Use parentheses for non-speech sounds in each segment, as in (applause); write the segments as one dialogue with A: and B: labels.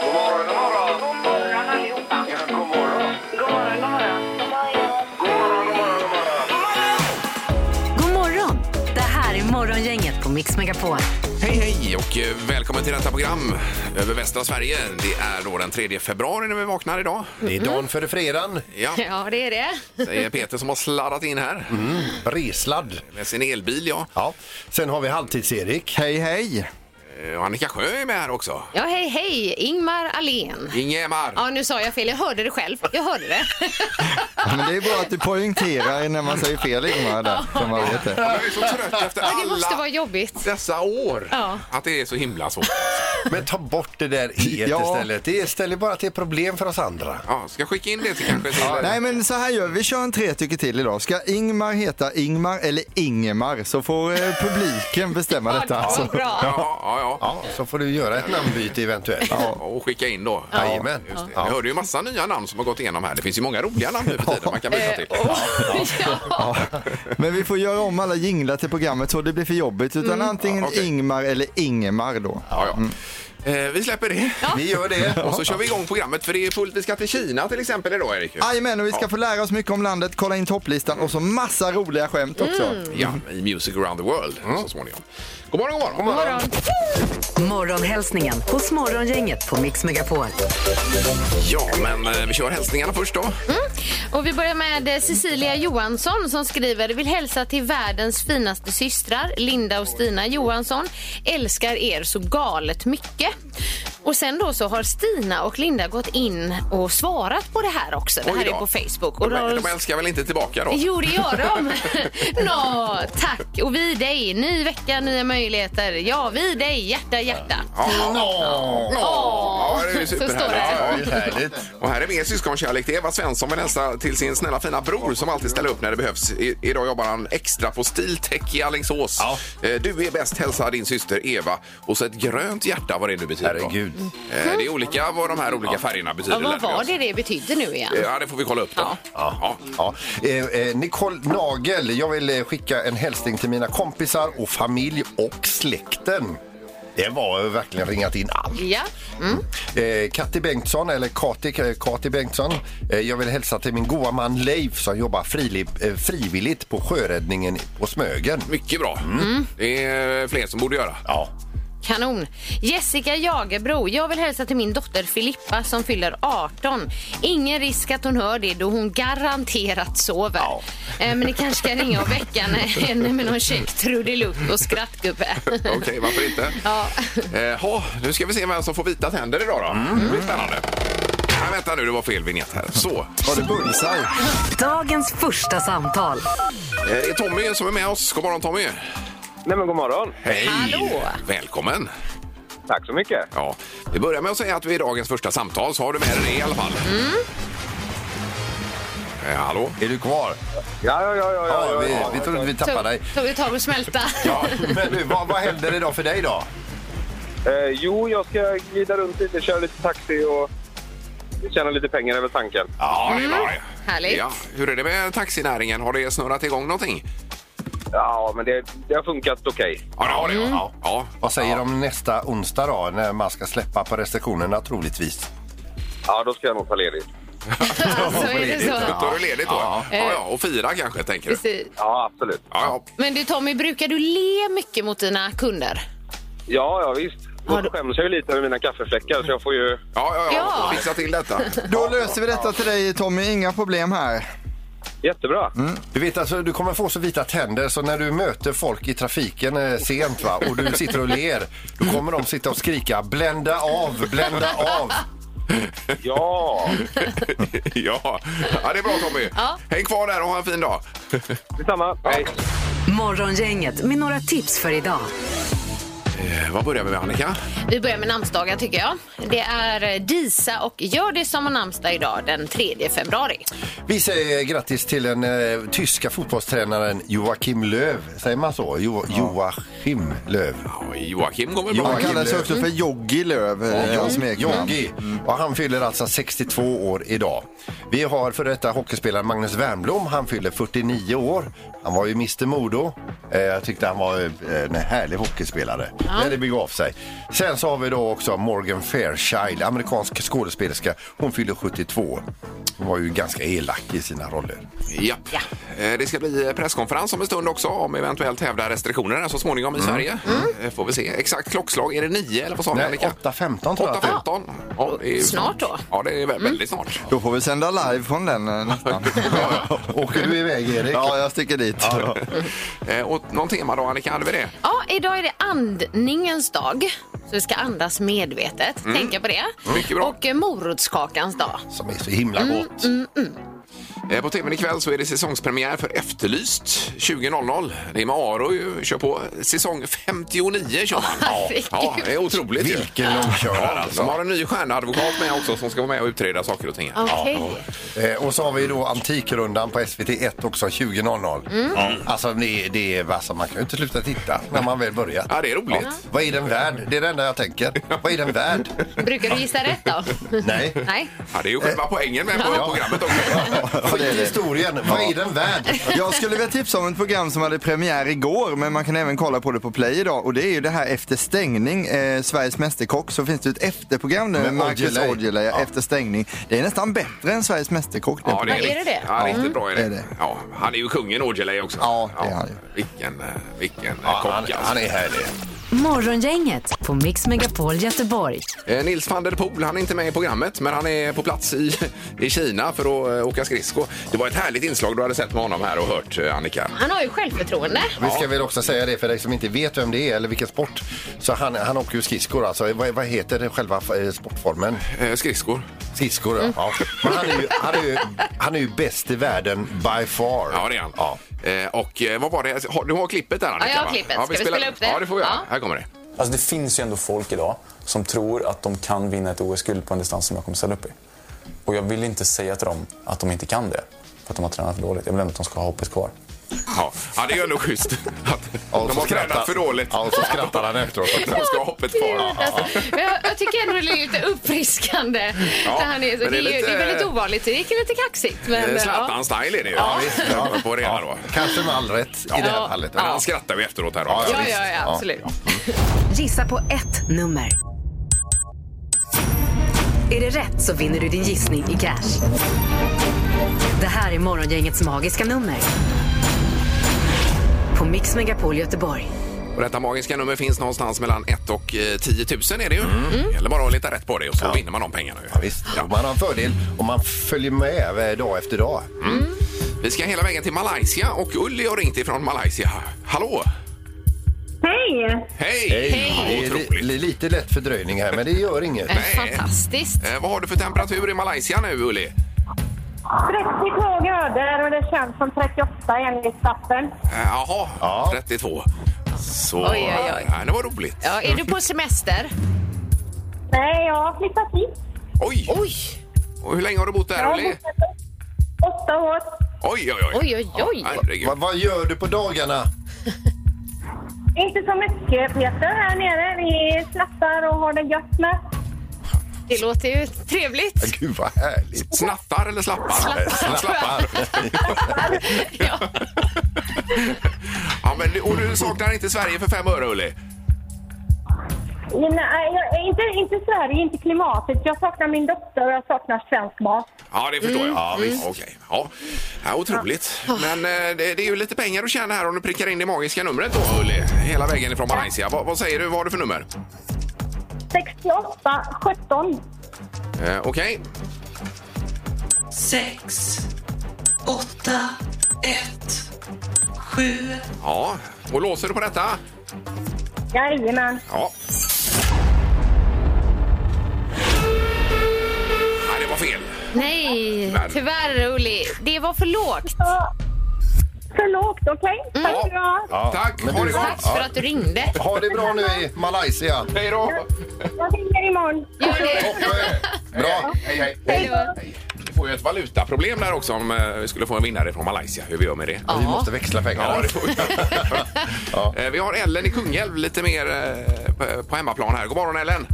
A: God morgon, god morgon.
B: God morgon allihopa.
A: Ja, god morgon.
B: God morgon, god morgon.
A: God morgon, god morgon, god morgon.
C: God morgon! Det här är Morgongänget på Mix Megapol.
D: Hej, hej och eh, välkommen till detta program över västra Sverige. Det är då den 3 februari när vi vaknar idag.
E: Det är dagen före fredagen.
D: Ja,
F: (laughs) Ja, det är det. Mm.
D: säger Peter som har sladdat in här
E: Resladd.
D: med sin elbil. Ja.
E: Ja. Sen har vi halvtids-Erik.
G: Hej, hej!
D: Eh, Och Annika Sjö är med här också.
F: Ja, hej, hej. Ingmar Ahlén.
D: Ingemar!
F: Ja, nu sa jag fel. Jag hörde det själv. Jag hörde det.
G: Ja, men det är bra att du poängterar när man säger fel Ingmar där, så man vet det.
D: Jag är så trött efter
F: Ja, det måste vara
D: alla
F: jobbigt.
D: dessa år
F: Ja.
D: att det är så himla svårt.
E: Men ta bort det (laughs) där e
G: Ja.
E: istället. Det ställer bara till problem för oss andra.
D: Ja, ska jag skicka in det till kanske till...
G: Nej men så här gör vi, vi kör en tre tycker till idag. Ska Ingmar heta Ingmar eller Ingemar så får eh, publiken bestämma detta.
F: Ja,
G: Alltså.
F: bra.
D: Ja, ja, ja.
E: Ja, så får du göra ett namnbyte eventuellt.
D: Och skicka in då.
E: Jajamän.
D: Just det.
E: Ja.
D: Vi hörde ju massa nya namn som har gått igenom här. Det finns ju många roliga namn nu för tiden man kan byta till.
G: Eh,
F: (laughs) Ja.
G: Men vi får göra om alla jinglar till programmet så det blir för jobbigt. Utan antingen
D: Mm. Ja, okej.
G: Ingmar eller Ingemar då.
D: Ja, ja. Eh, Vi släpper det.
E: Vi gör det.
D: Och så kör vi igång programmet för det är fullt. Vi ska till Kina till exempel idag Erik. ju.
G: Jajamän, och vi ska
D: Ja.
G: få lära oss mycket om landet, kolla in topplistan och så massa roliga skämt också.
D: Ja, i Music around the world så småningom. God morgon, god morgon.
F: God morgon.
C: Morgonhälsningen hos Morgongänget på Mix Megapol.
D: Ja, men eh, vi kör hälsningarna först då.
F: Och vi börjar med eh, Cecilia Johansson som skriver Vill hälsa till världens finaste systrar Linda och Stina Johansson. Älskar er så galet mycket. Och sen då så har Stina och Linda gått in och svarat på det här också. Det
D: Oj
F: här
D: då.
F: är på Facebook.
D: De,
F: Och då har de-
D: de älskar väl inte tillbaka då?
F: Jo, det gör de. (laughs) Nå, tack. Och vi dig. Ny vecka, nya möjligheter. Ja, vi dig. Hjärta, hjärta.
D: Ja, ja, det är ju
F: Så står
D: superhärligt.
F: det.
D: Ja, ja. Och här är mer syskonkärlek. Det är Eva Svensson vill hälsa till sin snälla fina bror som alltid ställer upp när det behövs. I, idag jobbar han extra på Stiltech i Alingsås. Eh, Du är bäst, hälsa din syster Eva. Och så ett grönt hjärta, vad det nu betyder. då.
E: Herregud.
D: Eh, Det är olika vad de här olika färgerna betyder.
F: Ja, vad
D: lärde vi
F: var
D: oss.
F: det det betydde nu igen?
D: Eh, Ja, det får vi kolla upp då. Ja.
E: Ja. Eh, eh, Nicole Nagel, jag vill eh, skicka en hälsning till mina kompisar och familj och släkten. Det var eh, verkligen ringat in allt.
F: Ja. Mm.
E: Eh, Katti Bengtsson, eller Kati, eh, Kati Bengtsson. Eh, jag vill hälsa till min goa man Leif som jobbar frilip, eh, frivilligt på sjöräddningen på Smögen.
D: Mycket bra.
F: Mm.
D: Det är fler som borde
F: (laughs)
D: göra.
E: Ja.
F: Kanon. Jessica Jagerbro, jag vill hälsa till min dotter Filippa som fyller 18. Ingen risk att hon hör det då hon garanterat sover.
E: Ja.
F: Eh, Men ni kanske ska ringa och väcka henne med någon check trudelutt och skrattgubbe.
D: Okej, varför inte?
F: Ja.
D: Eh, ha, nu ska vi se vem som får vita tänder idag då. Det blir spännande. Nej, vänta nu, det var fel vignett här. Så.
G: Var det bullseye?
C: Dagens första samtal.
D: Eh, det är Tommy som är med oss. God morgon Tommy.
A: Nej, men god morgon.
D: Hej!
F: Hallå.
D: Välkommen!
A: Tack så mycket.
D: Ja, vi börjar med att säga att vi är dagens första samtal, så har du med dig det i alla fall.
F: Mm.
D: Eh, hallå?
E: Är du kvar?
A: Ja, ja, ja. ja, ja,
E: Ja,
A: ja,
E: vi,
A: ja.
E: vi trodde vi
F: Tog,
E: tappade dig.
F: tog vi tag och smälta.
E: Ja, (laughs) men nu, vad, vad händer idag för dig då?
A: Eh, jo, jag ska glida runt lite, köra lite taxi och tjäna lite pengar över tanken.
D: Ja, det är bra.
F: Mm, Härligt.
D: Ja, hur är det med taxinäringen? Har det snurrat igång någonting?
A: Ja, men det, det har funkat okej.
D: Ja, det har det. Mm. Ja. ja.
E: Vad säger de nästa onsdag då, när man ska släppa på restriktionerna troligtvis?
A: Ja, då ska jag nog ta ledigt.
F: Så Alltså, är det så.
D: Då är det ledigt då. Ja,
E: Ja.
D: ja, och fira kanske, tänker du.
F: Precis.
A: Ja, absolut.
D: Ja,
F: Men du Tommy, brukar du le mycket mot dina kunder?
A: Ja, ja visst.
F: Har du-
A: Jag skäms jag ju lite över mina kaffefläckar så jag får ju...
D: ja, ja, ja.
F: Ja.
D: fixa till (laughs) detta.
G: Då löser vi detta till dig Tommy, inga problem här.
A: Jättebra.
E: Du vet alltså, du kommer få så vita tänder så när du möter folk i trafiken eh, sent va, och du sitter och ler, då kommer de sitta och skrika blända av, blända av.
A: Ja,
D: ja. ja, det är bra Tommy.
F: Ja.
D: Häng kvar där och ha en fin dag.
A: detsamma. Hej.
C: Morgongänget med några tips för idag.
D: Eh, vad börjar vi med Annika?
F: Vi börjar med namnsdagar tycker jag. Det är Disa och Gör det som har namnsdag idag den 3 februari.
E: Vi säger grattis till den eh, tyska fotbollstränaren Joakim Löw. Säger man så? Jo, Joakim Löw.
D: Ja, Joakim kommer bra.
G: Han
E: Joakim
G: kallas
E: Lööf.
G: också för Joggi Lööf, eh, hans smeknamn.
E: Joggi. Och han fyller alltså 62 år idag. Vi har för detta hockeyspelaren Magnus Wernbloom. Han fyller 49 år. Han var ju Mr Modo. Eh, Jag tyckte han var eh, en härlig hockeyspelare när det begav sig. Sen Sen så har vi då också Morgan Fairchild, amerikansk skådespelerska. Hon fyller 72. Hon var ju ganska elak i sina roller.
D: Ja. Eh, Det ska bli presskonferens om en stund också om eventuellt hävda restriktionerna så småningom i Sverige. Eh, Får vi se. Exakt klockslag, är det 9 eller vad sa vi
E: Mm. Nej,
D: Annika?
E: 8.15 tror jag att det är.
D: 8.15. Ja, det är ju-
F: Snart då. Mm.
D: Ja, det är vä- väldigt snart.
G: Då får vi sända live från den eh, nästan.
E: (laughs) Åker du iväg Erik?
G: Ja, jag sticker dit.
D: Eh, Och någon tema då Annika, hade vi det?
F: Ja, idag är det andningens dag. Så vi ska andas medvetet. Tänka på det.
D: Mycket bra.
F: Och eh, morotskakans dag.
E: Som är så himla
D: Mm,
E: gott.
D: Eh, På tvn ikväll så är det säsongspremiär för Efterlyst 20.00. Det är med Aro ju, kör på säsong 59 kör man.
F: herregud.
D: Ja, det är otroligt ju.
E: Vilken långkörare
D: Alltså,
E: alltså.
D: de har en ny stjärnadvokat med också som ska vara med och utreda saker och ting. här.
F: Okej.
E: Eh, och så har vi då Antikrundan på SVT1 också 20.00.
D: Mm.
E: Alltså det, det är vassa, man kan ju inte sluta titta när man väl börjat.
D: Ja, det är roligt.
E: Vad är den värd? Det är det enda jag tänker. Vad är den värd?
F: Brukar du gissa rätt då?
E: Nej.
F: Nej.
D: (laughs) Ja, det är ju själva poängen med programmet också.
E: Skit i historien. Vad är den värd?
G: Jag skulle vilja tipsa om ett program som hade premiär igår men man kan även kolla på det på play idag och det är ju det här Efter stängning, eh, Sveriges Mästerkock. Så finns det ett efterprogram nu
E: Med
G: med Marcus
E: Aujalay.
G: Aujalay, ja. Efter stängning. Det är nästan bättre än Sveriges Mästerkock.
D: Ja, det är,
F: Är det
D: rikt-
F: det?
D: Ja, riktigt bra är det.
G: det är det.
D: Ja, han är ju kungen Aujalay också.
G: Ja, det är han ju.
D: Vilken, eh, vilken eh,
E: Ja,
D: kock
E: han,
D: alltså.
E: han är härlig.
C: Morgongänget på Mix Megapol Göteborg.
D: Eh, Nils van der Poel, han är inte med i programmet men han är på plats i, i Kina för att eh, åka skridsko. Det var ett härligt inslag du hade sett med honom här och hört eh, Annika.
F: Han har ju självförtroende.
E: Vi ska väl också säga det för dig som inte vet vem det är eller vilken sport. Så han, han åker ju skridskor alltså. Vad, vad heter det själva eh, sportformen?
D: Eh, Skridskor.
E: Skridskor
D: Mm.
E: ja. ja. Men han är, ju, han, är ju, han är ju bäst i världen by far.
D: Ja, det är han.
E: Ja.
D: Eh, Och eh, vad var det? Har- Du har klippet där Annika?
F: jag har
D: va?
F: klippet.
D: vi
F: Ska vi
D: spelar-
F: spela upp det?
D: Ja, det får vi göra.
F: Ja.
D: Här kommer det.
H: Alltså det finns ju ändå folk idag som tror att de kan vinna ett OS-guld på en distans som jag kommer ställa upp i. Och jag vill inte säga till dem att de inte kan det, för att de har tränat för dåligt. Jag vill ändå att de ska ha hoppet kvar.
D: Ja, ja det är ju ändå schysst att
E: Ja, och
D: de
E: så
D: har
E: skrattar-
D: tränat för dåligt.
E: Ja, och så skrattar han efteråt.
D: De ska ha hoppet kvar.
F: Gud, alltså. Men jag, jag tycker ändå det är lite uppfriskande.
D: Ja,
F: när han är, så
D: men
F: det, är ju, det är väldigt ovanligt. Det gick lite kaxigt. Men,
D: Eh,
F: ja.
D: Zlatan-style är det ju. Ja, visst. På det här då.
E: Kanske med all rätt i det här fallet.
D: Men han skrattar ju efteråt här.
E: Ja,
F: Ja,
E: visst.
F: ja, ja,
E: Ja.
F: absolut.
C: Gissa på ett nummer. Är det rätt så vinner du din gissning i cash. Det här är Morgongängets magiska nummer. På Mix Megapol Göteborg.
D: Och detta magiska nummer finns någonstans mellan 1 och eh, 10 000 är det ju. Eller bara att leta rätt på det och så vinner man de pengarna. Ju.
E: Ja, visst. Och Man har en fördel om man följer med eh, dag efter dag.
D: Mm. Vi ska hela vägen till Malaysia och Ulli har ringt ifrån Malaysia. Hallå!
I: Hej!
D: Hej!
E: Det är li-
D: Otroligt!
E: li- lite lätt fördröjning här, men det gör inget.
D: Nej.
F: Fantastiskt.
D: Eh, vad har du för temperatur i Malaysia nu Ulli? Eh,
I: 32 grader och det känns som 38 enligt stappen.
D: Eh, Jaha,
E: Ja.
D: 32. Så,
F: Oj, oj, oj.
D: Nej, det var roligt.
F: Ja, är du på semester?
I: Nej, jag har flyttat hit.
D: Oj!
F: Oj,
D: Och hur länge har du bott
I: Jag
D: där
I: har
D: Ulli?
I: bott här Åtta år.
D: Oj, oj, oj.
F: oj, oj. oj.
D: Herregud.
E: Va- vad gör du på dagarna?
I: Inte så mycket Peter här nere. Vi snattar och har det gött med.
F: Det låter ju trevligt.
E: Gud, vad härligt.
D: Snattar eller slappar? Eh,
F: Slappar.
D: Slappar. ja, men, du- och du saknar inte Sverige för fem öre Ulli?
I: Nej, jag, inte, inte Sverige, inte klimatet. Jag saknar min dotter och jag saknar svensk mat.
D: Ja, det
E: Mm.
D: förstår jag. Ja, visst. Okej. Ja. Ja, otroligt. Men eh, det, det är ju lite pengar att tjäna här om du prickar in det magiska numret då, Ulli. Hela vägen ifrån Malaysia. Vad, vad säger du? Vad har du för nummer?
I: 68, 17.
D: Eh, Okej.
J: sex, åtta, ett, sju.
D: Ja. Och låser du på detta?
I: Jajamän.
D: Ja. Nej, det var fel.
F: Nej,
D: Tyvärr.
F: tyvärr Ulli. Det var för lågt.
I: Ja. För lågt, okej? Tack ska du ha.
E: Ja,
D: Tack,
E: men
D: ha
E: du-
D: det gott!
F: Tack för att du ringde.
E: Ha det bra nu i Malaysia.
D: Hej då!
I: Jag ringer imorgon.
F: Gör det.
D: Toppen! Bra! Hej, hej!
F: Hej då.
D: Hej. Vi får ju ett valutaproblem där också om eh, vi skulle få en vinnare från Malaysia. Hur vi gör med det.
E: Vi måste växla
D: Ja,
E: pengarna.
D: det får vi. (laughs) ja. (laughs) Eh, Vi har Ellen i Kungälv lite mer eh, på- på hemmaplan här. God morgon Ellen!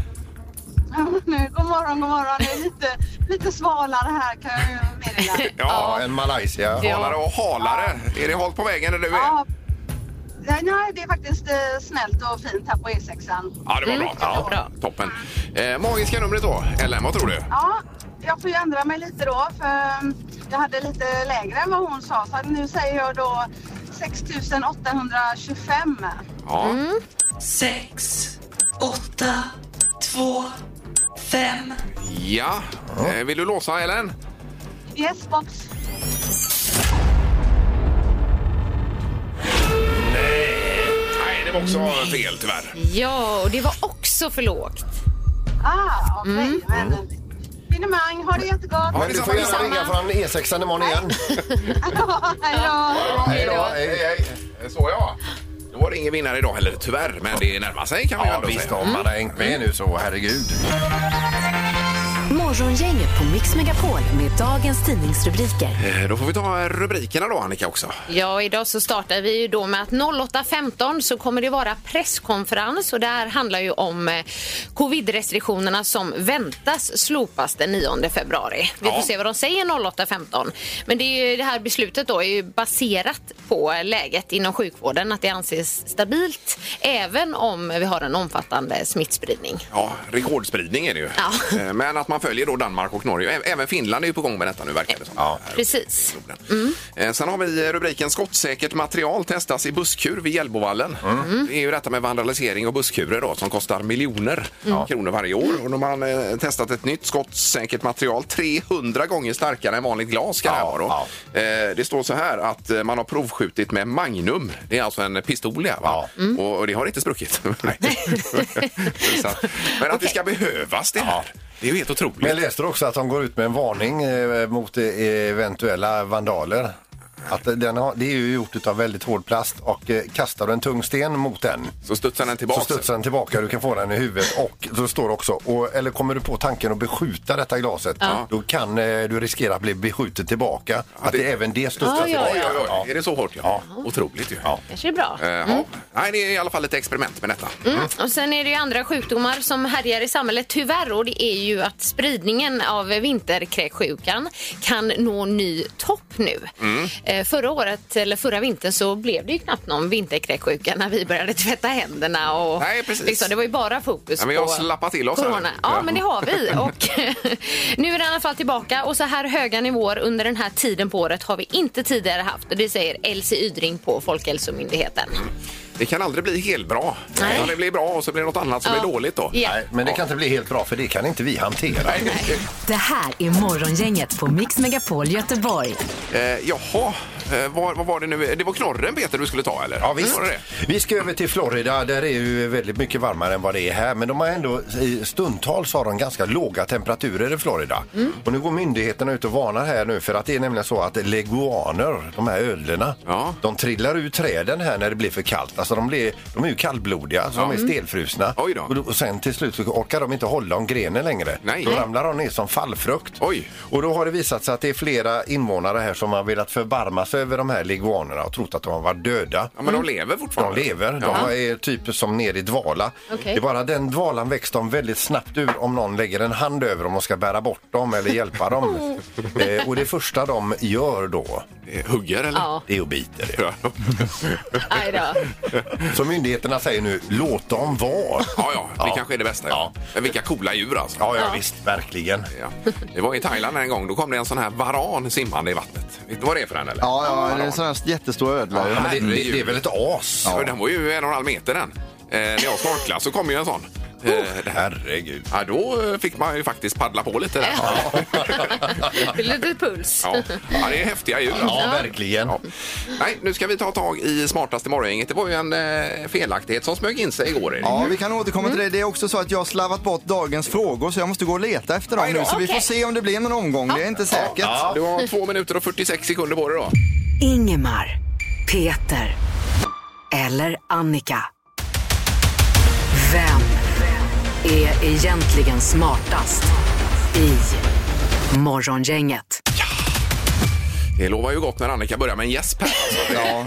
J: (laughs) Nu, god morgon, god morgon. Det är lite, lite svalare här kan jag ju
K: (laughs)
J: meddela.
D: Ja,
E: Ja, en Malaysia.
F: Ja.
D: halare och halare. Är det halt på vägen där du är?
J: Ja, nej, nej, det är faktiskt eh, snällt och fint här på E E6.
D: Ja, det var bra. Ja, Toppen. Eh, magiska numret då, Ellen, vad tror du?
J: Ja, jag får ju ändra mig lite då för mm, jag hade lite lägre än vad hon sa. Så nu säger jag då 6825.
D: Ja.
L: Sex, åtta, två, fem.
D: ja. Eh, vill du låsa, Ellen?
J: Yes box.
D: Nej, det var också fel tyvärr.
F: Ja, och det var också för lågt.
J: Ah, okej. Men finemang, ha det jättegott.
E: Men du får gärna ringa från E6 imorgon igen.
J: Hej då.
D: Hej då. Hej, hej. Så ja. Då var det ingen vinnare idag heller, tyvärr. Men det närmar sig kan vi
E: Ja,
D: ändå
E: visst
D: säga.
E: om man har hängt med nu så, herregud.
C: Morgongänget på Mix Megapol med dagens tidningsrubriker.
D: Eh, Då får vi ta rubrikerna då, Annika, också.
F: Ja, idag så startar vi ju då med att 08.15 så kommer det vara presskonferens och det här handlar ju om eh, covid-restriktionerna som väntas slopas den 9 februari. Vi får
D: Ja.
F: se vad de säger 08.15. Men det, är ju, det här beslutet då är ju baserat på läget inom sjukvården, att det anses stabilt även om vi har en omfattande smittspridning.
D: Ja, rekordspridning är det ju.
F: Ja.
D: Eh, Men att man följer då Danmark och Norge. Ä- Även Finland är ju på gång med detta nu, verkar det som. Ja.
F: Precis.
D: Eh, Sen har vi rubriken Skottsäkert material testas i busskur vid Hjällbovallen.
E: Mm.
D: Det är ju detta med vandalisering och busskurer då, som kostar miljoner kronor varje år. Och de har eh, testat ett nytt skottsäkert material, 300 gånger starkare än vanligt glas. Ska det här
E: Ja,
D: vara då. Eh, Det står så här att eh, man har provskjutit med Magnum. Det är alltså en pistol, ja, va? och, och det har inte spruckit. Nej. (laughs) Så
E: (laughs)
D: att- Men att det ska behövas det här, det är ju helt otroligt.
E: Men jag läste också att de går ut med en varning eh, mot eh, eventuella vandaler. Att den har, det är ju gjort av väldigt hård plast och eh, kastar du en tung sten mot den
D: Så studsar den tillbaka.
E: så studsar den tillbaka, du kan få den i huvudet och då står det också, och, eller kommer du på tanken att beskjuta detta glaset då kan eh, du riskera att bli beskjuten tillbaka. Att
D: det-
E: det, även det studsar
F: Ja, ja,
E: tillbaka.
D: Oj, oj, oj. Är det så hårt? Ja. Otroligt ju. Ja.
F: Kanske är bra.
D: ja. Nej, det är i alla fall ett experiment med detta.
F: Mm. Och sen är det ju andra sjukdomar som härjar i samhället tyvärr och det är ju att spridningen av vinterkräksjukan kan nå ny topp nu.
D: Mm.
F: Eh, förra året, eller förra vintern, så blev det ju knappt någon vinterkräksjuka när vi började tvätta händerna och
D: Nej, precis.
F: liksom, det var ju bara fokus
D: Ja, men vi har
F: på
D: slappat till oss här.
F: corona. Ja, men det
D: (laughs)
F: har vi och (laughs) nu är det i alla fall tillbaka och så här höga nivåer under den här tiden på året har vi inte tidigare haft och det säger Elsie Ydring på Folkhälsomyndigheten.
D: Mm. Det kan aldrig bli helt bra.
F: Nej.
D: Ja, det blir bra och så blir det något annat som
F: Ja.
D: blir dåligt då.
F: Ja.
E: Nej, men det kan inte bli helt bra för det kan inte vi hantera.
C: Det här är Morgongänget på Mix Megapol Göteborg.
D: Eh, jaha, eh, vad, vad var det nu? Det var knorren Peter du skulle ta eller?
E: Ja, visst.
D: Var det det?
E: Mm. Vi ska över till Florida. Där är ju väldigt mycket varmare än vad det är här. Men de har ändå i stundtals har de ganska låga temperaturer i Florida. Och nu går myndigheterna ut och varnar här nu för att det är nämligen så att leguaner, de här ödlorna,
D: Ja.
E: de trillar ur träden här när det blir för kallt. Alltså de, blir, de är ju kallblodiga, så de är stelfrusna.
D: Mm. Oj då.
E: Och, och sen till slut så orkar de inte hålla om grenen längre.
D: Nej.
E: Då ramlar de ner som fallfrukt.
D: Oj.
E: Och då har det visat sig att det är flera invånare här som har velat förbarma sig över de här leguanerna och trott att de har varit döda.
D: Ja, men de lever
E: De
D: fortfarande.
E: lever. De
D: Ja.
E: är typ som ner i dvala.
F: Okej.
E: Det är bara den dvalan växer de väldigt snabbt ur om någon lägger en hand över dem och ska bära bort dem eller hjälpa dem. eh, och det första de gör då,
D: Eh, Hugger eller?
F: Ja,
E: det är att bita det.
D: Ja,
F: aj då.
E: Så myndigheterna säger nu, låt dem vara.
D: ja, det kanske är det bästa. Ja. Men vilka coola djur alltså.
E: Ja, ja, visst, verkligen.
D: Ja. Det var i Thailand en gång, då kom det en sån här varan simmande i vattnet. Vet du vad det är för en eller?
G: Ja, ja, det är en sån här jättestor ödla.
E: Ja,
G: ju.
E: men det, det, det är väl ett as?
D: Ja. Den var ju en och en halv meter den. Eh, när jag snorklade så kom ju en sån. Eh, det här.
E: Herregud.
D: Ja, då eh, fick man ju faktiskt paddla på lite där. Ja,
F: (laughs) Det är lite puls.
D: ja. det är häftiga djur.
E: Ja, verkligen.
D: Ja. Nej, nu ska vi ta tag i smartaste morgongänget. Det var ju en eh, felaktighet som smög in sig igår. Erik.
G: Ja, vi kan återkomma till det. Det är också så att jag har slavat bort dagens frågor så jag måste gå och leta efter dem
D: Aj då.
G: nu. Så vi
F: Okej.
G: får se om det blir någon omgång. Det är inte säkert.
D: Du har 2 minuter och 46 sekunder på dig då.
C: Ingemar, Peter eller Annika. Vem är egentligen smartast i Morgongänget?
D: Det lovar ju gott när Annika börjar med en gäsp här. Ja.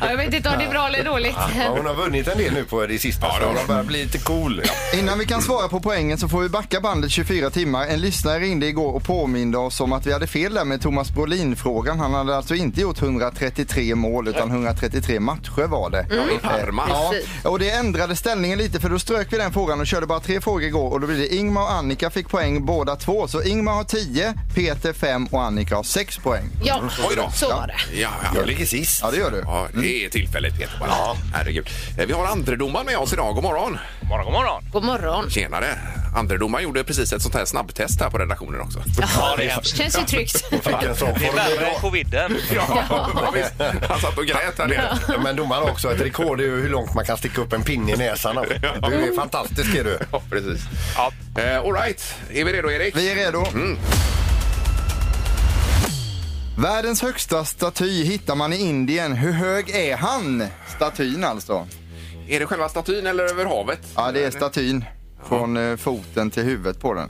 F: Ja, jag vet inte om det är bra eller dåligt.
E: Ja, hon har vunnit en del nu på det sista, så hon har börjat bli lite cool.
G: Innan vi kan svara på poängen så får vi backa bandet 24 timmar. En lyssnare ringde igår och påminde oss om att vi hade fel där med Thomas Brolin-frågan. Han hade alltså inte gjort 133 mål utan 133 matcher var det.
D: Ja, i Parma.
G: Ja, och det ändrade ställningen lite för då strök vi den frågan och körde bara tre frågor igår och då blir det Ingmar och Annika fick poäng båda två. Så Ingmar har 10, Peter 5 och Annika har 6 poäng.
F: Ja,
D: Oj då.
F: så var det.
D: Ja, ja.
E: Jag ligger sist.
G: Ja, det gör du.
D: ja, det är tillfälligt Peter. Bara. Ja. Herregud. Eh, Vi har andredomaren med oss idag. God morgon.
K: Morgon, god morgon.
F: God morgon.
D: Tjenare. Andredomaren gjorde precis ett sånt här snabbtest här på redaktionen också.
K: Ja, det är hemskt.
F: Känns ju
D: (laughs)
F: tryggt.
E: Hon fick en sån
K: Det är värre än coviden.
E: formidabel...
D: Ja, visst. Han satt och grät här nere.
E: Men domaren har också ett rekord i hur långt man kan sticka upp en pinne i näsan. Du är fantastisk är du.
D: Ja, precis.
K: Ja.
D: Eh, all right. Är vi redo, Erik?
G: Vi är redo.
D: Mm.
G: Världens högsta staty hittar man i Indien. Hur hög är han? Statyn alltså.
D: Är det själva statyn eller över havet?
G: Ja, det är statyn. Från eh, foten till huvudet på den.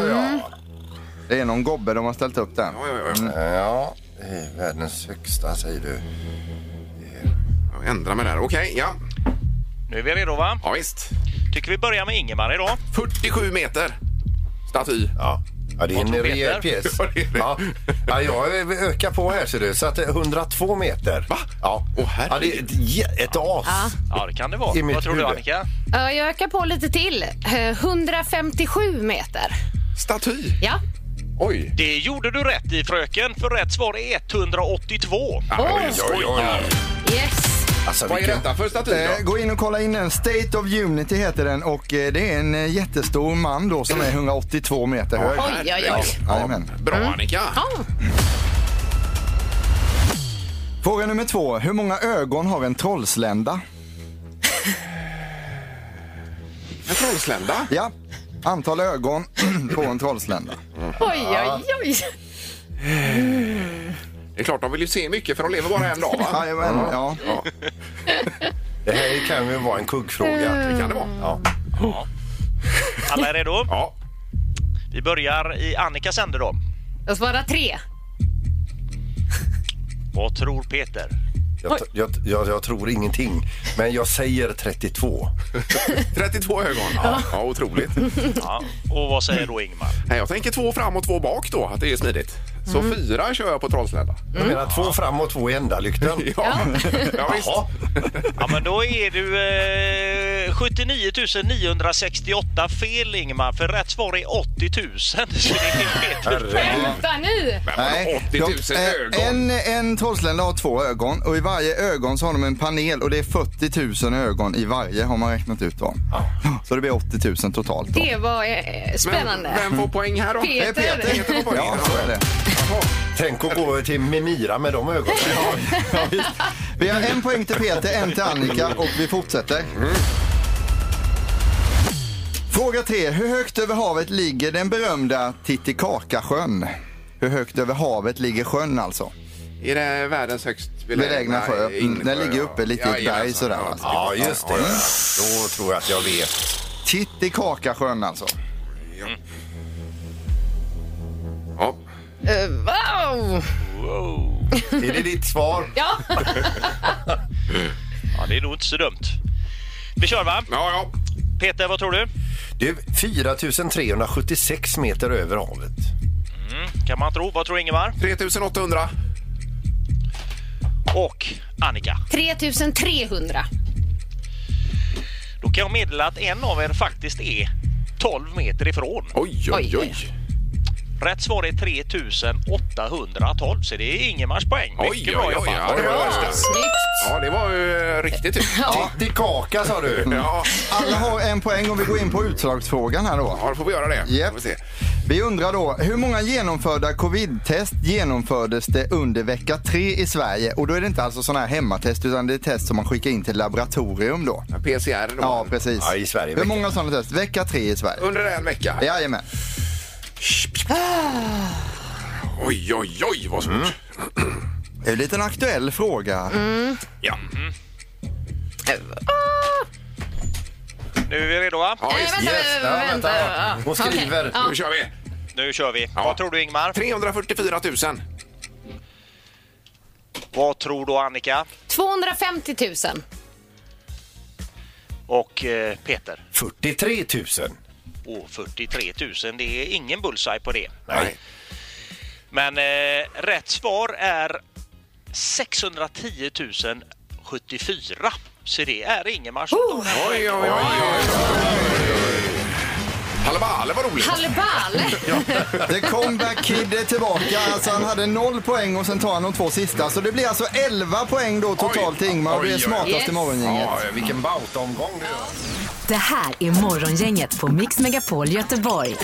G: Mm. Det är någon gobbe de har ställt upp där.
D: Ja, ja, ja.
E: Ja, det är världens högsta säger du.
D: Jag ändrar mig där. Okej, ja.
K: Nu är vi redo va?
D: Ja, visst.
K: Tycker vi börjar med Ingemar idag.
D: 47 meter staty.
E: Ja. Ja, det är en
K: Vad tog
E: rejäl
K: Peter?
E: pjäs.
D: Ja, det är det.
E: Ja. Ja, jag ökar på här ser du. Så att det är 102 meter.
D: Va?
E: Ja.
D: Åh,
E: ja, det är
D: herregud.
E: ett, jä- ett as.
K: Ja, det kan det
E: I
K: vara.
E: mitt
K: Vad tror du
E: huvud.
K: Annika?
F: Ja, Jag ökar på lite till. Eh, 157 meter.
D: Staty?
F: Ja.
D: Oj.
K: Det gjorde du rätt i fröken, för rätt svar är 182.
D: Oj, oj, oj.
F: Yes.
E: Alltså,
D: Vad är
E: vilken...
D: detta för staty
G: Eh,
D: då?
G: Gå in och kolla in den. State of Unity heter den och eh, det är en eh, jättestor man
D: (clears throat)
G: då som är 182 meter hög.
F: Oj, oj, oj.
G: Jajamän.
D: Bra, Annika.
F: Ja.
G: Fråga nummer två. Hur många ögon har en trollslända?
D: En trollslända.
G: Ja, antal ögon (clears throat) på en trollslända.
F: Oj, oj, oj.
D: Det är klart, de vill ju se mycket för de lever bara en dag, va?
G: Jajamän, Mm, ja.
D: Ja,
E: Det här kan ju vara en kuggfråga.
D: det kan det vara.
E: Ja.
K: Alla är redo?
D: Ja.
K: Vi börjar i Annikas ände då.
F: Jag svarar tre.
K: Vad tror Peter?
E: Jag, t- jag, jag, jag tror ingenting, men jag säger 32.
D: Mm. 32 ögon. Ja, ja otroligt.
K: Ja. Och vad säger då Ingmar?
D: Nej, Jag tänker två fram och två bak då, att det är smidigt. Så fyra kör jag på trollslända.
E: Jag menar två fram och två i ändalykten.
D: Ja, ja visst.
E: Jaha.
K: Ja, men då är du eh, 79 968 fel Ingmar, för rätt svar är 80 000. Så det är Peter.
F: Vänta nu!
D: Nej, men 80 000
G: de- eh,
D: ögon.
G: En, en trollslända har två ögon och i varje ögon så har de en panel och det är 40 000 ögon i varje har man räknat ut då. Så det blir 80 000 totalt. Då.
F: Det var eh, spännande.
D: Men, vem får poäng här då?
F: Peter.
G: Det är Peter.
D: Peter får poäng.
G: Ja, så är det.
E: Tänk att gå till Mimira med de ögonen.
G: Vi har en poäng till Peter, en till Annika och vi fortsätter.
D: Mm.
G: Fråga tre. Hur högt över havet ligger den berömda Titicacasjön? Hur högt över havet ligger sjön alltså?
D: Är det världens högst
G: Belägna sjö. Mm,
D: insjö,
G: den ligger uppe lite i ett berg
D: jajamensan.
G: sådär, alltså. va?
E: Ja, just det. Då tror jag att jag vet.
G: Titicacasjön alltså.
D: Ja.
F: Eh, wow.
E: Är det ditt svar?
F: Ja,
K: Ja, det är nog inte så dumt. Vi kör va?
D: Ja, ja.
K: Peter, vad tror du?
E: Du, 4376 meter över havet.
K: Kan man tro. Vad tror Ingemar?
D: 3800.
K: Och Annika?
F: 3300.
K: Då kan jag meddela att en av er faktiskt är 12 meter ifrån.
D: Oj, oj,
F: Oj,
D: oj.
F: oj.
K: Rätt svar är 3812, så det är Ingemars poäng.
D: Oj,
K: Mycket
D: oj,
K: bra
D: oj,
K: jobbat.
D: ja, det var värsta.
F: Snyggt.
D: Ja, det var ju eh, riktigt tur.
E: Ja. Tittikaka sa du.
G: Mm.
D: Ja,
G: Alla har en poäng och vi går in på utslagsfrågan här då.
D: ja, då får vi göra det.
G: Japp.
D: Får vi se.
G: Vi undrar då, hur många genomförda covid-test genomfördes det under vecka 3 i Sverige? Och då är det inte alltså sådana här hemmatest utan det är test som man skickar in till laboratorium då.
D: PCR då.
G: Ja, precis.
E: Ja, i Sverige,
G: Hur
E: vecka-
G: många sådana test? Vecka 3 i Sverige.
D: Under en vecka.
G: Jajamän.
D: Oj, oj, oj, vad
E: Mm.
D: svårt.
G: Det är en liten aktuell fråga.
D: Ja.
K: Nu är vi redo va?
D: ja,
F: Nej,
D: visst.
F: vänta,
E: Yes, ja,
F: vänta,
E: vänta.
F: Eh, vänta.
E: Hon skriver.
F: Okej, ja.
D: Nu kör vi.
K: nu kör vi. Vad tror du Ingmar?
D: 344 000.
K: Vad tror du Annika?
F: 250 000.
K: Och eh, Peter?
E: 43 000.
K: Åh, 43 000. Det är ingen bullseye på det.
E: Nej.
K: Men eh, rätt svar är 610 074. Så det är Ingemars. Oh!
D: Oj, oj, oj, Halleballe var roligt.
F: Halleballe!
G: The comeback kid är tillbaka. Alltså han hade noll poäng och sen tar han de två sista. Så det blir alltså 11 poäng då totalt till Ingmar och
E: Oj,
G: blir
E: oj, oj.
G: smartast i morgongänget.
E: Ja, vilken bautomgång det är.
C: Det här är Morgongänget på Mix Megapol Göteborg.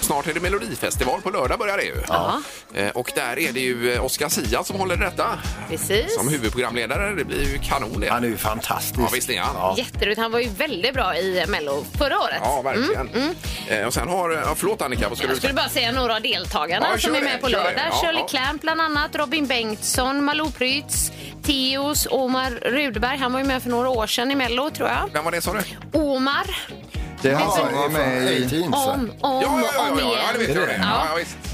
D: Snart är det Melodifestival. På lördag börjar det ju.
C: Ja.
D: Eh, Och där är det ju eh, Oscar Sia som håller detta.
F: Precis.
D: Som huvudprogramledare. Det blir ju kanon det. Han är ju fantastisk. Ja, visst är han.
F: Jätteroligt. Han var ju väldigt bra i Mello förra året. Mm.
D: Ja, verkligen. Eh, Och sen har... Ja, förlåt Annika, vad skulle
F: Jag
D: du säga?
F: skulle bara säga några av deltagarna
D: Ja,
F: som
D: kör
F: är
D: det,
F: med på
D: kör det.
F: lördag.
D: Ja,
F: Shirley
D: ja.
F: Clamp bland annat, Robin Bengtsson, Malou Prytz, Theoz, Omar Rudberg. Han var ju med för några år sedan i Mello tror jag.
D: Vem var det sa du?
F: Omar.
G: Det är han
F: Vet
G: som
F: du-
G: är med i...
F: Om, om, om igen.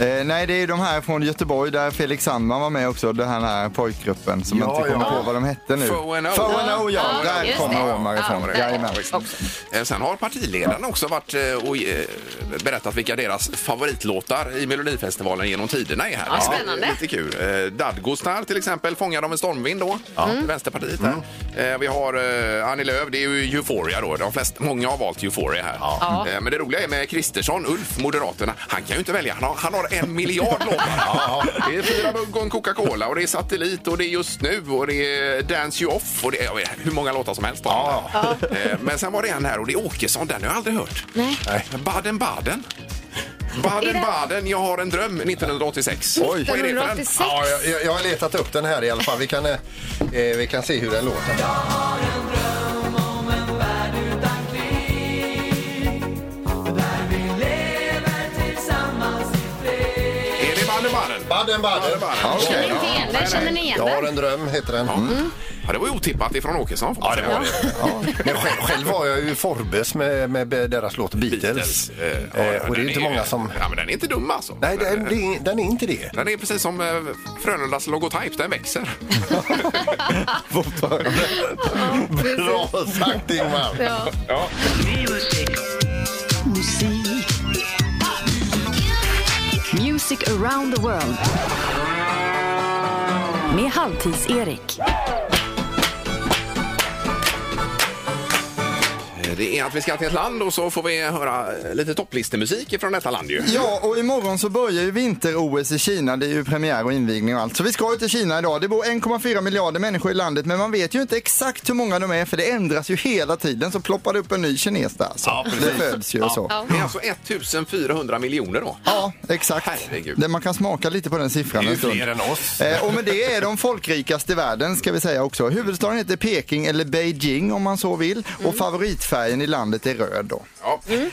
G: Eh, nej, det är ju de här från Göteborg där Felix Sandman var med också, den här pojkgruppen som
D: Ja,
G: jag inte kommer
D: ja.
G: på vad de hette nu.
D: Foe and O.
G: Foe and O, ja. Där kommer Omar ifrån. Jajamän.
D: Eh, Sen har partiledarna också varit eh, och eh, berättat vilka deras favoritlåtar i Melodifestivalen genom tiderna är här.
F: Ja, spännande.
D: Det är Lite kul. Eh, Dadgostar till exempel, Fångad av en stormvind då, Vänsterpartiet där. Eh, Vi har eh, Annie Lööf, det är ju Euphoria då. De flest, många har valt Euphoria här.
M: Ja.
D: Eh, Men det roliga är med Kristersson, Ulf, Moderaterna, han kan ju inte välja. Han har, han har en miljard låtar. Det är fyra mugg och en Coca-Cola och det är Satellit och det är Just nu och det är Dance You Off och det är jag vet, hur många låtar som helst. Ja. Eh, Men sen var det en här och det är Åkesson, den har jag aldrig hört.
F: Nej.
D: Baden-Baden. Baden-Baden, jag har en dröm 1986. Vad är det för en?
E: Ja, jag- jag, jag har letat upp den här i alla fall. Vi kan, eh, eh, vi kan se hur den låter.
D: Är det Baden-Baden?
E: Baden-Baden.
D: Ja, okej. Känner inte
F: igen den, känner ni igen
E: Jag har
F: den?
E: en dröm, heter den.
D: Ja, det var ju otippat ifrån Åkesson. Ja, det var det.
E: Men själv, själv var jag ju i Forbes med, med deras låt Beatles. Eh, och det är ju inte många som...
D: Ja, men den är inte dum alltså.
E: Nej, den, det är- den är inte det.
D: Den är precis som eh, Frölundas logotyp, den växer.
E: Mm. (laughs) Bra sagt Ingmar!
L: Ja.
D: Ja.
L: Musik.
C: Music around the world. Med Halvtids-Erik.
D: Det är att vi ska till ett land och så får vi höra eh, lite topplistemusik från detta land ju.
G: Ja, och imorgon så börjar ju vinter-OS i Kina. Det är ju premiär och invigning och allt. Så vi ska ju till Kina idag. Det bor 1,4 miljarder människor i landet, men man vet ju inte exakt hur många de är, för det ändras ju hela tiden. Så ploppar det upp en ny kines där. Så. det föds ju och så.
D: Det är alltså 1400 miljoner då.
G: Ja, exakt. Det- Man kan smaka lite på den siffran
D: Det är ju
G: en stund.
D: fler än oss.
G: Eh, och med det är de folkrikaste i världen ska vi säga också. Huvudstaden heter Peking eller Beijing om man så vill
D: Mm.
G: och favoritfärgen i landet är röd då.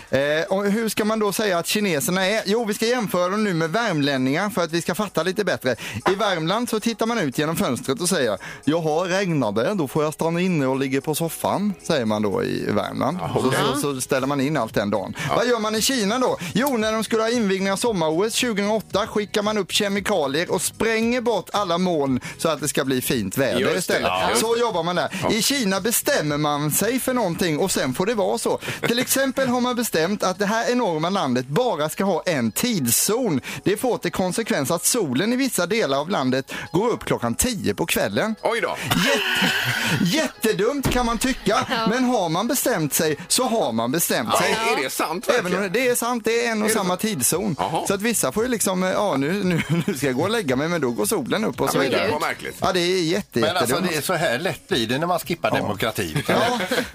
G: Eh, och hur ska man då säga att kineserna är? Jo, vi ska jämföra dem nu med värmlänningar för att vi ska fatta lite bättre. I Värmland så tittar man ut genom fönstret och säger Jaha, regnar det? Då får jag stanna inne och ligga på soffan, säger man då i Värmland. Så, så, så ställer man in allt den dagen. Vad gör man i Kina då? Jo, när de skulle ha invigning av sommar-OS 2008 skickar man upp kemikalier och spränger bort alla moln så att det ska bli fint väder
M: Just det,
G: istället.
M: ja.
G: Så jobbar man där.
M: Ja.
G: I Kina bestämmer man sig för någonting och sen får det vara så. Till exempel har man bestämt att det här enorma landet bara ska ha en tidszon. Det får till konsekvens att solen i vissa delar av landet går upp klockan 10 på kvällen.
D: Oj då!
G: Jättedumt kan man tycka, men har man bestämt sig så har man bestämt
D: Ja,
G: sig.
D: Alltså, är det sant
G: Även om det, det är sant, det är en och samma tidszon. Så att vissa får ju liksom, eh, ja nu, nu, nu ska jag gå och lägga mig men då går solen upp och
E: Ja,
G: så
E: men det
G: vidare.
E: var märkligt.
G: Ja, det är jätte,
E: Men alltså,
G: jättedumt.
E: det är så här lätt blir det när man skippar demokrati.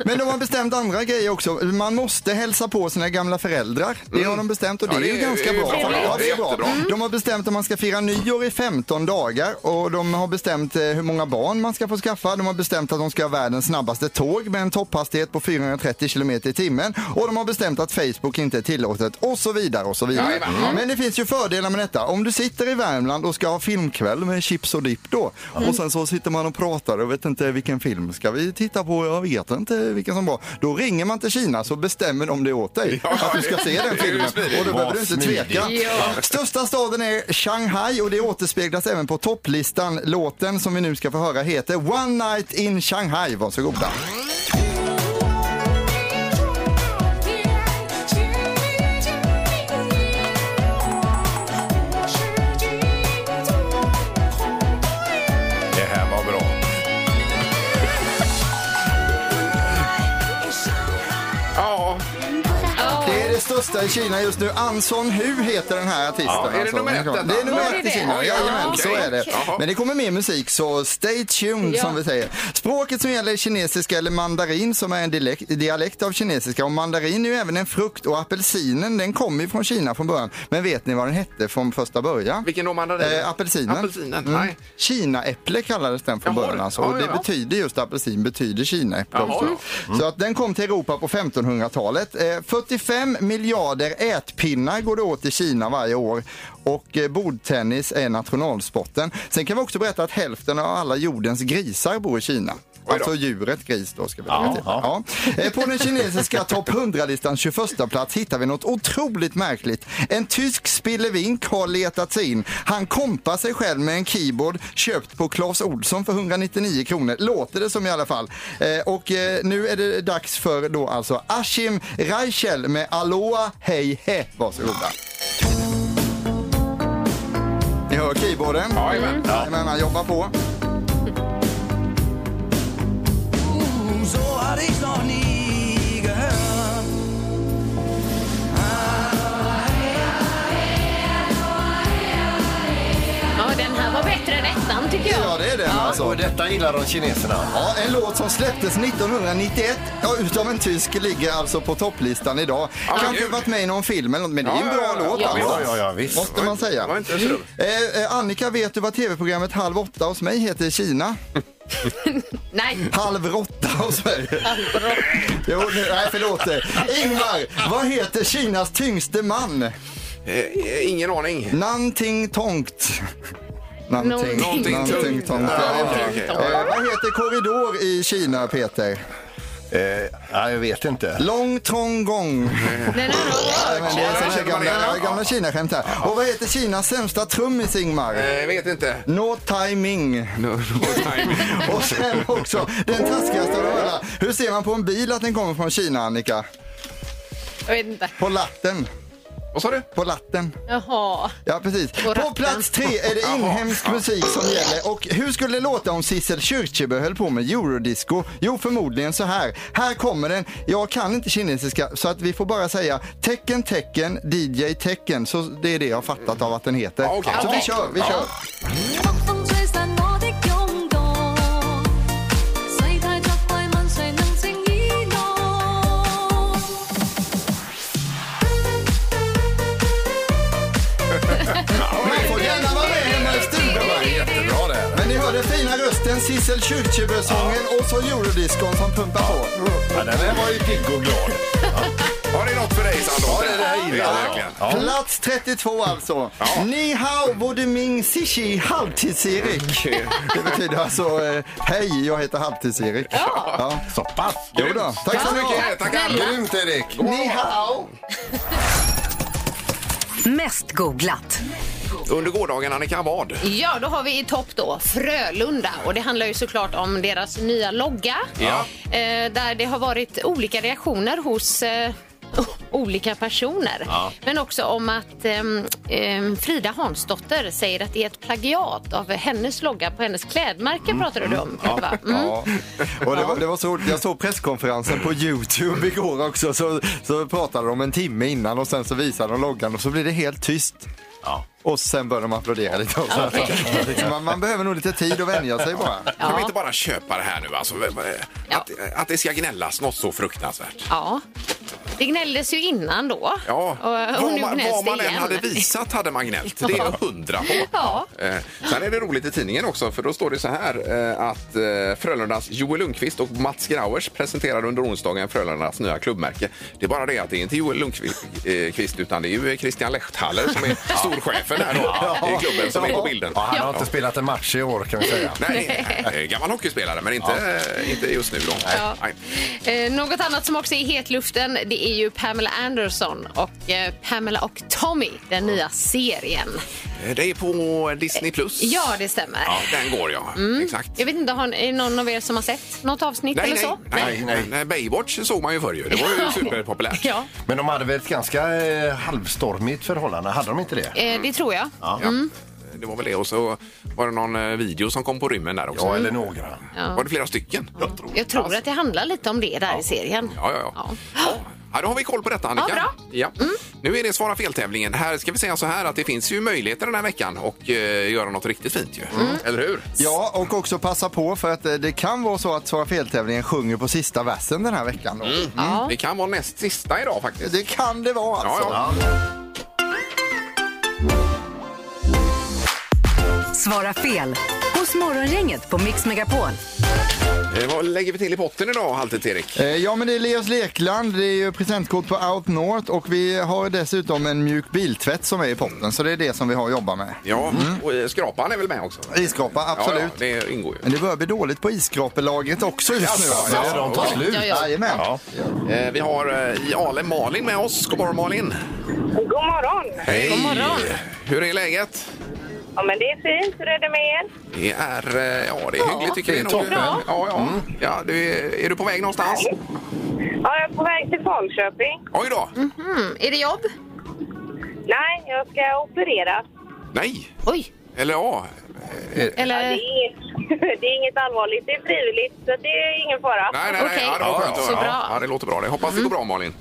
G: Men de har bestämt andra grejer också. Man måste hälsa på sina gamla föräldrar. Det har de bestämt och det,
E: Mm. Ja, det
G: är ju
E: är-
G: ganska
E: det är
G: bra.
E: jättebra.
G: Ja,
E: Det är jättebra. Mm.
G: De har bestämt att man ska fira nyår i 15 dagar och de har bestämt eh, hur många barn man ska få skaffa. De har bestämt att de ska ha världens snabbaste tåg med en topphastighet på 430 km i timmen och de har bestämt att Facebook inte är tillåtet och så vidare och så vidare.
M: Jajamän. Mm.
G: Men det finns ju fördelar med detta. Om du sitter i Värmland och ska ha filmkväll med chips och dipp då
M: Mm.
G: och sen så sitter man och pratar och vet inte vilken film ska vi titta på, jag vet inte vilken som var. Då ringer man till Kina så bestämmer de det åt dig.
E: Ja,
G: att du ska se
E: det är
G: den filmen.
E: ju smidigt.
G: Och då behöver
E: Vad
G: du inte
E: smidigt.
G: tveka.
E: Ja.
G: Största staden är Shanghai och det återspeglas även på topplistan. Låten som vi nu ska få höra heter One Night in Shanghai. Varsågoda.
E: Det här var bra.
D: Ja.
G: Det är det största i Kina just nu. Anson Hu heter den här artisten.
D: Ja, är det
G: alltså.
D: nummer ett
G: Det
D: detta?
G: är nummer
D: Var det
G: ett
D: det?
G: i Kina.
D: Oj,
G: Jajamän,
D: okej.
G: så är det.
D: Jaha.
G: Men det kommer mer musik, så stay tuned
D: Ja.
G: som vi säger. Språket som gäller är kinesiska eller mandarin som är en dilek- dialekt av kinesiska. Och mandarin är ju även en frukt och apelsinen den kommer ju från Kina från början. Men vet ni vad den hette från första början?
D: Vilken då mandarin?
G: Eh, apelsinen. Mm.
D: Apelsinen, nej.
G: Kinaäpple kallades den från
D: Jaha.
G: början alltså.
D: Ja,
G: Och det
D: ja.
G: betyder just apelsin, betyder Kinaäpple
D: Jaha.
G: också. Så att den kom till Europa på 1500-talet. Eh, 45 miljarder ätpinnar går det åt i Kina varje år. Och eh, bordtennis är nationalsporten. Sen kan vi också berätta att hälften av alla jordens grisar bor i Kina. Alltså djuret gris då ska vi lägga
E: Ja,
G: till.
E: ja.
G: Ja. Eh, På den kinesiska topp 100-listans 21 plats hittar vi något otroligt märkligt. En tysk spillevink har letat sig in. Han kompar sig själv med en keyboard köpt på Clas Ohlson för 199 kronor. Låter det som i alla fall. Eh, Och eh, nu är det dags för då alltså Ashim Reichel med Aloha Hej He. Varsågoda. Ni hör keyboarden? Jajamän. Jajamän, han jobbar på.
L: Så hade jag nog nie gehört.
F: Ja, den här var bättre än ettan tycker jag.
G: Ja, det är den alltså.
E: Och detta gillar de kineserna.
G: Ja, en låt som släpptes 1991 ja, utav en tysk ligger alltså på topplistan idag.
E: Ja,
G: Kanske
E: gud.
G: varit med i någon film eller något, men det är en
E: Ja,
G: bra
E: ja, ja,
G: låt
E: ja,
G: alltså.
E: visst. Ja, ja, visst.
G: Måste man säga.
D: var inte så dum.
G: Eh, eh, Annika, vet du vad tv-programmet Halv åtta hos mig heter
E: (laughs)
G: i Kina?
F: Nej.
G: Halv råtta hos mig. jo, nu, nej förlåt. Ingmar, vad heter Kinas tyngste man?
D: Eh, ingen aning.
E: Mm.
G: Nanting Tongt.
D: Någonting tungt.
G: Någonting Tongt.
D: Ja,
G: Ja,
D: okej,
G: okej.
D: okej.
G: Eh, vad heter korridor i Kina, Peter?
E: Eh, ja, jag vet inte.
G: Lång trång gång. Ja, men det är så mycket gamla, gamla Kina-skämt här. Och vad heter Kinas sämsta trummis, Ingmar?
D: Eh, vet inte.
G: No
D: (laughs)
G: timing.
E: Mm.
G: Och sen också den taskigaste av dem alla. Hur ser man på en bil att den kommer från Kina, Annika?
F: Jag vet inte.
G: På latten.
D: Vad sa du?
G: På latten.
F: Jaha.
G: Ja, precis. På plats tre är det inhemsk musik som gäller. Och hur skulle det låta om Sissel Kyrkjebø höll på med eurodisco? Jo, förmodligen så här. Här kommer den. Jag kan inte kinesiska, så att vi får bara säga tecken, tecken, DJ, tecken. Så det är det jag har fattat av att den heter.
D: okej.
G: Så vi
D: Okej.
G: kör, vi
D: Ja.
G: kör. Man får gärna vara med hemma i stugan. va?
E: Jättebra det här.
G: Men ni hörde fina rösten, Sissel Kyrkjebø-sången och så eurodiscon som pumpar på.
E: Ja, den här var ju pigg och glad.
D: Har det något för dig, Sandro?
E: Ja, det där gillar jag
D: verkligen.
G: Plats 32 alltså. Ni hao både ming
E: (laughs)
G: sishi halvtids-Erik. Det betyder alltså eh, hej, jag heter halvtids-Erik. Ja.
E: Så pass.
G: Jo då. Tack så
D: Tack så
G: mycket.
D: mycket. Tackar.
E: Grymt Erik.
G: Ni hao.
C: Mest googlat.
D: Under gårdagen, Annika, vad?
F: Ja, då har vi i topp då Frölunda och det handlar ju såklart om deras nya logga.
D: Ja.
F: Eh, där det har varit olika reaktioner hos eh, (laughs) o- olika personer. Men också om att ehm, ehm, Frida Hansdotter säger att det är ett plagiat av hennes logga på hennes klädmärke pratade du om. Ja. Va? Mm.
G: Ja. Och det, var, det var så roligt. Jag såg presskonferensen på Youtube igår också. Så, så pratade de en timme innan och sen så visade de loggan och så blev det helt tyst. Och sen började de applådera lite. Och så. Så man, man behöver nog lite tid att vänja sig bara.
D: Kan vi inte bara köpa det här nu? Alltså, att, att det ska gnällas något så fruktansvärt.
F: ja. Det gnälldes ju innan då.
D: Ja,
F: Och, och
D: vad
F: nu
D: man,
F: gnälls
D: vad
F: det
D: man än
F: igen.
D: hade visat hade man
F: (laughs)
D: gnällt. Det är jag hundra på.
F: Ja.
D: Eh, sen är det roligt i tidningen också, för då står det så här eh, att eh, Frölundas Joel Lundqvist och Mats Grauers presenterade under onsdagen Frölundas nya klubbmärke. Det är bara det att det är inte Joel Lundqvist eh, utan det är ju Christian Lechthaller som är storchefen här då, i klubben som är på bilden.
E: Ja, han har inte spelat en match i år kan vi säga.
D: Nej, eh, gammal hockeyspelare, men inte, eh, inte just nu. Då. Nej.
F: Eh, något annat som också är i hetluften det det är ju Pamela Anderson och eh, Pamela och Tommy, den nya serien.
D: Eh, Det är på Disney+. Plus.
F: Ja, det stämmer.
D: Ja, den går ja. Exakt.
F: Jag vet inte, har, är det någon av er som har sett något avsnitt eller så?
D: nej, nej, nej. Baywatch såg man ju förr ju. Det var ju
F: (laughs) Ja.
D: superpopulärt. Eh,
F: Ja,
E: Men de hade väl ett ganska eh, halvstormigt förhållande? Hade de inte det?
F: eh, det tror jag.
E: Ja.
F: Mm.
D: Det var väl det och så var det någon eh, video som kom på rymmen där också.
E: Ja, eller några.
F: Ja.
D: Var det flera stycken? Jag tror
F: Jag tror att det handlar lite om det där i serien.
D: Ja, ja, ja. ja. Ja, då har vi koll på detta, Annika.
F: Ja, bra. Mm.
D: Ja. Nu är det Svara fel-tävlingen. Här ska vi säga så här att det finns ju möjligheter den här veckan och eh, göra något riktigt fint ju.
F: Mm.
D: Eller hur?
G: Ja, och också passa på för att eh, det kan vara så att Svara fel-tävlingen sjunger på sista versen den här veckan. Då.
E: Mm.
D: Det kan vara näst sista idag faktiskt.
G: Det kan det vara alltså.
D: Ja,
C: Svara fel hos Morgongänget på Mix Megapol.
D: Eh, Vad lägger vi till i potten idag, Halvtids Erik?
G: Eh, Ja men det är Leos Lekland, det är ju presentkort på Out North och vi har dessutom en mjuk biltvätt som är i potten så det är det som vi har att jobba med.
D: Ja, och eh, skrapan är väl med också?
G: Isskrapa, Mm. absolut.
D: Ja, ja, det ingår ju.
G: Men det börjar bli dåligt på isskrapelagret också just nu.
D: Jaså, ja, de tar slut. Ja, ja.
G: Jajamän.
D: Eh, Vi har eh, i Ale Malin med oss. God morgon Malin!
I: God morgon!
D: Hej! Hur är läget?
I: Ja, men det är fint. Hur är det med er?
D: Det är, eh, ja, det är
I: Ja,
D: hyggligt tycker
I: det
D: vi
I: är
D: nog.
I: toppen. Mm.
D: Ja,
I: Bra.
D: ja. ja du, är- är du på väg någonstans?
I: Ja, jag är på väg till Falköping.
D: Oj då!
I: Mm.
F: Mhm. Är det jobb?
I: Nej, jag ska opereras.
D: Nej!
F: Oj!
D: Eller ja. Eh.
I: Ja, det, är, det är (laughs) inget allvarligt. Det är frivilligt, så det är ingen fara.
D: Nej, nej, nej. Ja, det var skönt att höra. Ja, det låter bra. Det. Hoppas det går bra, Malin.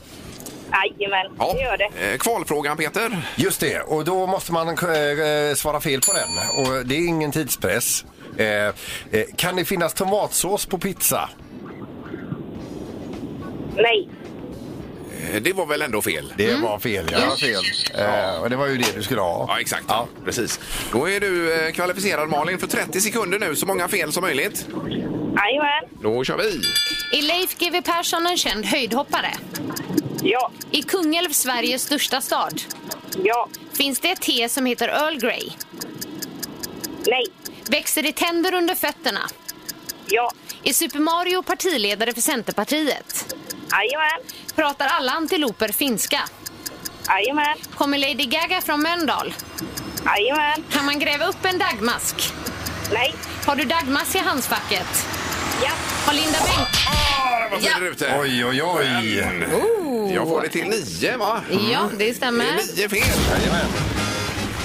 I: Jajamän, Mm. det gör det.
D: Eh, Kvalfrågan, Peter.
E: Just det, och då måste man eh, svara fel på den. Och det är ingen tidspress. Eh, eh, kan det finnas tomatsås på pizza?
I: Nej.
D: Eh, Det var väl ändå fel?
E: Det var fel, ja.
D: Det var fel.
E: Eh, och det var ju det du skulle ha.
D: Ja, exakt. Ja. Precis. Då är du eh, kvalificerad, Malin, för 30 sekunder nu. Så många fel som möjligt.
I: Jajamän.
D: Då kör vi!
F: Är Leif GW Persson en känd höjdhoppare?
I: Ja.
F: Är Kungälv Sveriges största stad?
I: Ja.
F: Finns det ett te som heter Earl Grey?
I: Nej.
F: Växer det tänder under fötterna?
I: Ja.
F: Är Super Mario partiledare för Centerpartiet?
I: Jajamän.
F: Pratar alla antiloper finska?
I: Jajamän.
F: Kommer Lady Gaga från Mölndal?
I: Jajamän.
F: Kan man gräva upp en dagmask?
I: Nej.
F: Har du dagmask i handskfacket?
I: Ja.
F: Har Linda Bengt?
D: Vad säger du ute?
E: Oj, oj, oj!
D: Jag får det till nio, va?
F: Ja, det stämmer.
D: Nio fel! Jajamän.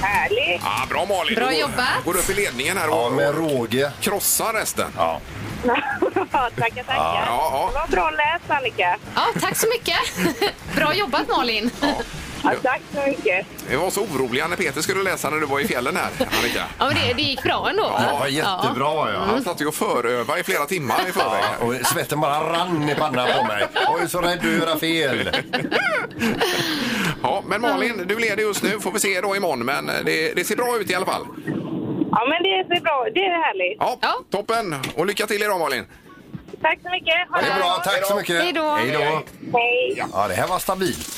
I: Härligt.
D: Ja, bra, Malin.
F: Bra
D: Du går-
F: jobbat.
D: Går du upp i ledningen här och
E: Ja, med råge.
D: krossar resten.
E: Ja.
I: (laughs) tackar, tackar.
D: Ja,
I: Det var bra läst, Annika.
F: Ja, tack så mycket. (laughs) Bra jobbat Malin.
I: Ja, tack så mycket.
D: Vi var så oroliga när Peter skulle läsa när du var i fjällen (laughs) här, Annika.
F: Ja, men det, det gick bra ändå. va?
E: Mm.
F: Mm.
D: Han satt ju och förövade i flera timmar i förväg.
E: Ja, och svetten bara rann i pannan på mig. Jag är så rädd att göra fel.
D: Ja, men
F: Mm.
D: Malin, du leder just nu. Får vi se då imorgon, men det, det ser bra ut i alla fall.
I: Ja, men det ser bra Det är härligt.
D: Ja, toppen! Och lycka till idag, Malin.
I: Tack så mycket. Ha
E: Det är bra, tack så mycket.
I: Hej då.
E: Hej då.
I: Hej.
E: Ja, det här var stabilt.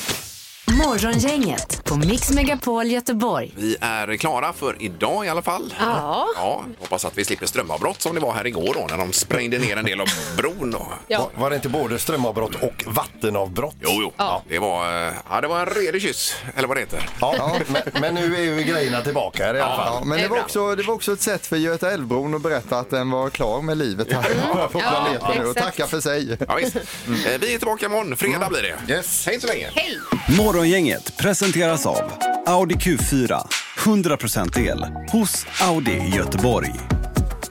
C: Morgongänget på Mix Megapol Göteborg.
D: Vi är klara för idag i alla fall.
C: Ja.
D: Ja, hoppas att vi slipper strömavbrott som det var här igår då när de sprängde ner en del av bron. Då.
E: Var, var det inte både strömavbrott och vattenavbrott?
D: Jo, jo. Ja. Det, var, eh, ja, det var en redig kyss, eller vad det heter.
E: Ja, men, men nu är ju grejerna tillbaka här i alla fall.
G: Ja, men det var, också, det var också ett sätt för Göta älvbron att berätta att den var klar med livet här på
E: Ja,
G: planeten nu och
E: exakt.
G: tacka för sig.
D: Ja, visst. Eh, Vi är tillbaka imorgon. Fredag blir det. Yes. Hej så länge!
F: Hej!
M: Morgongänget presenteras av Audi Q4. 100% el hos Audi Göteborg.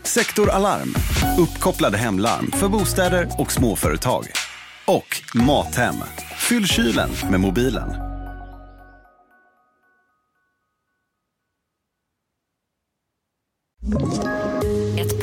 M: Sektor Alarm. Uppkopplade hemlarm för bostäder och småföretag. Och Mathem. Fyll kylen med mobilen.
N: Ett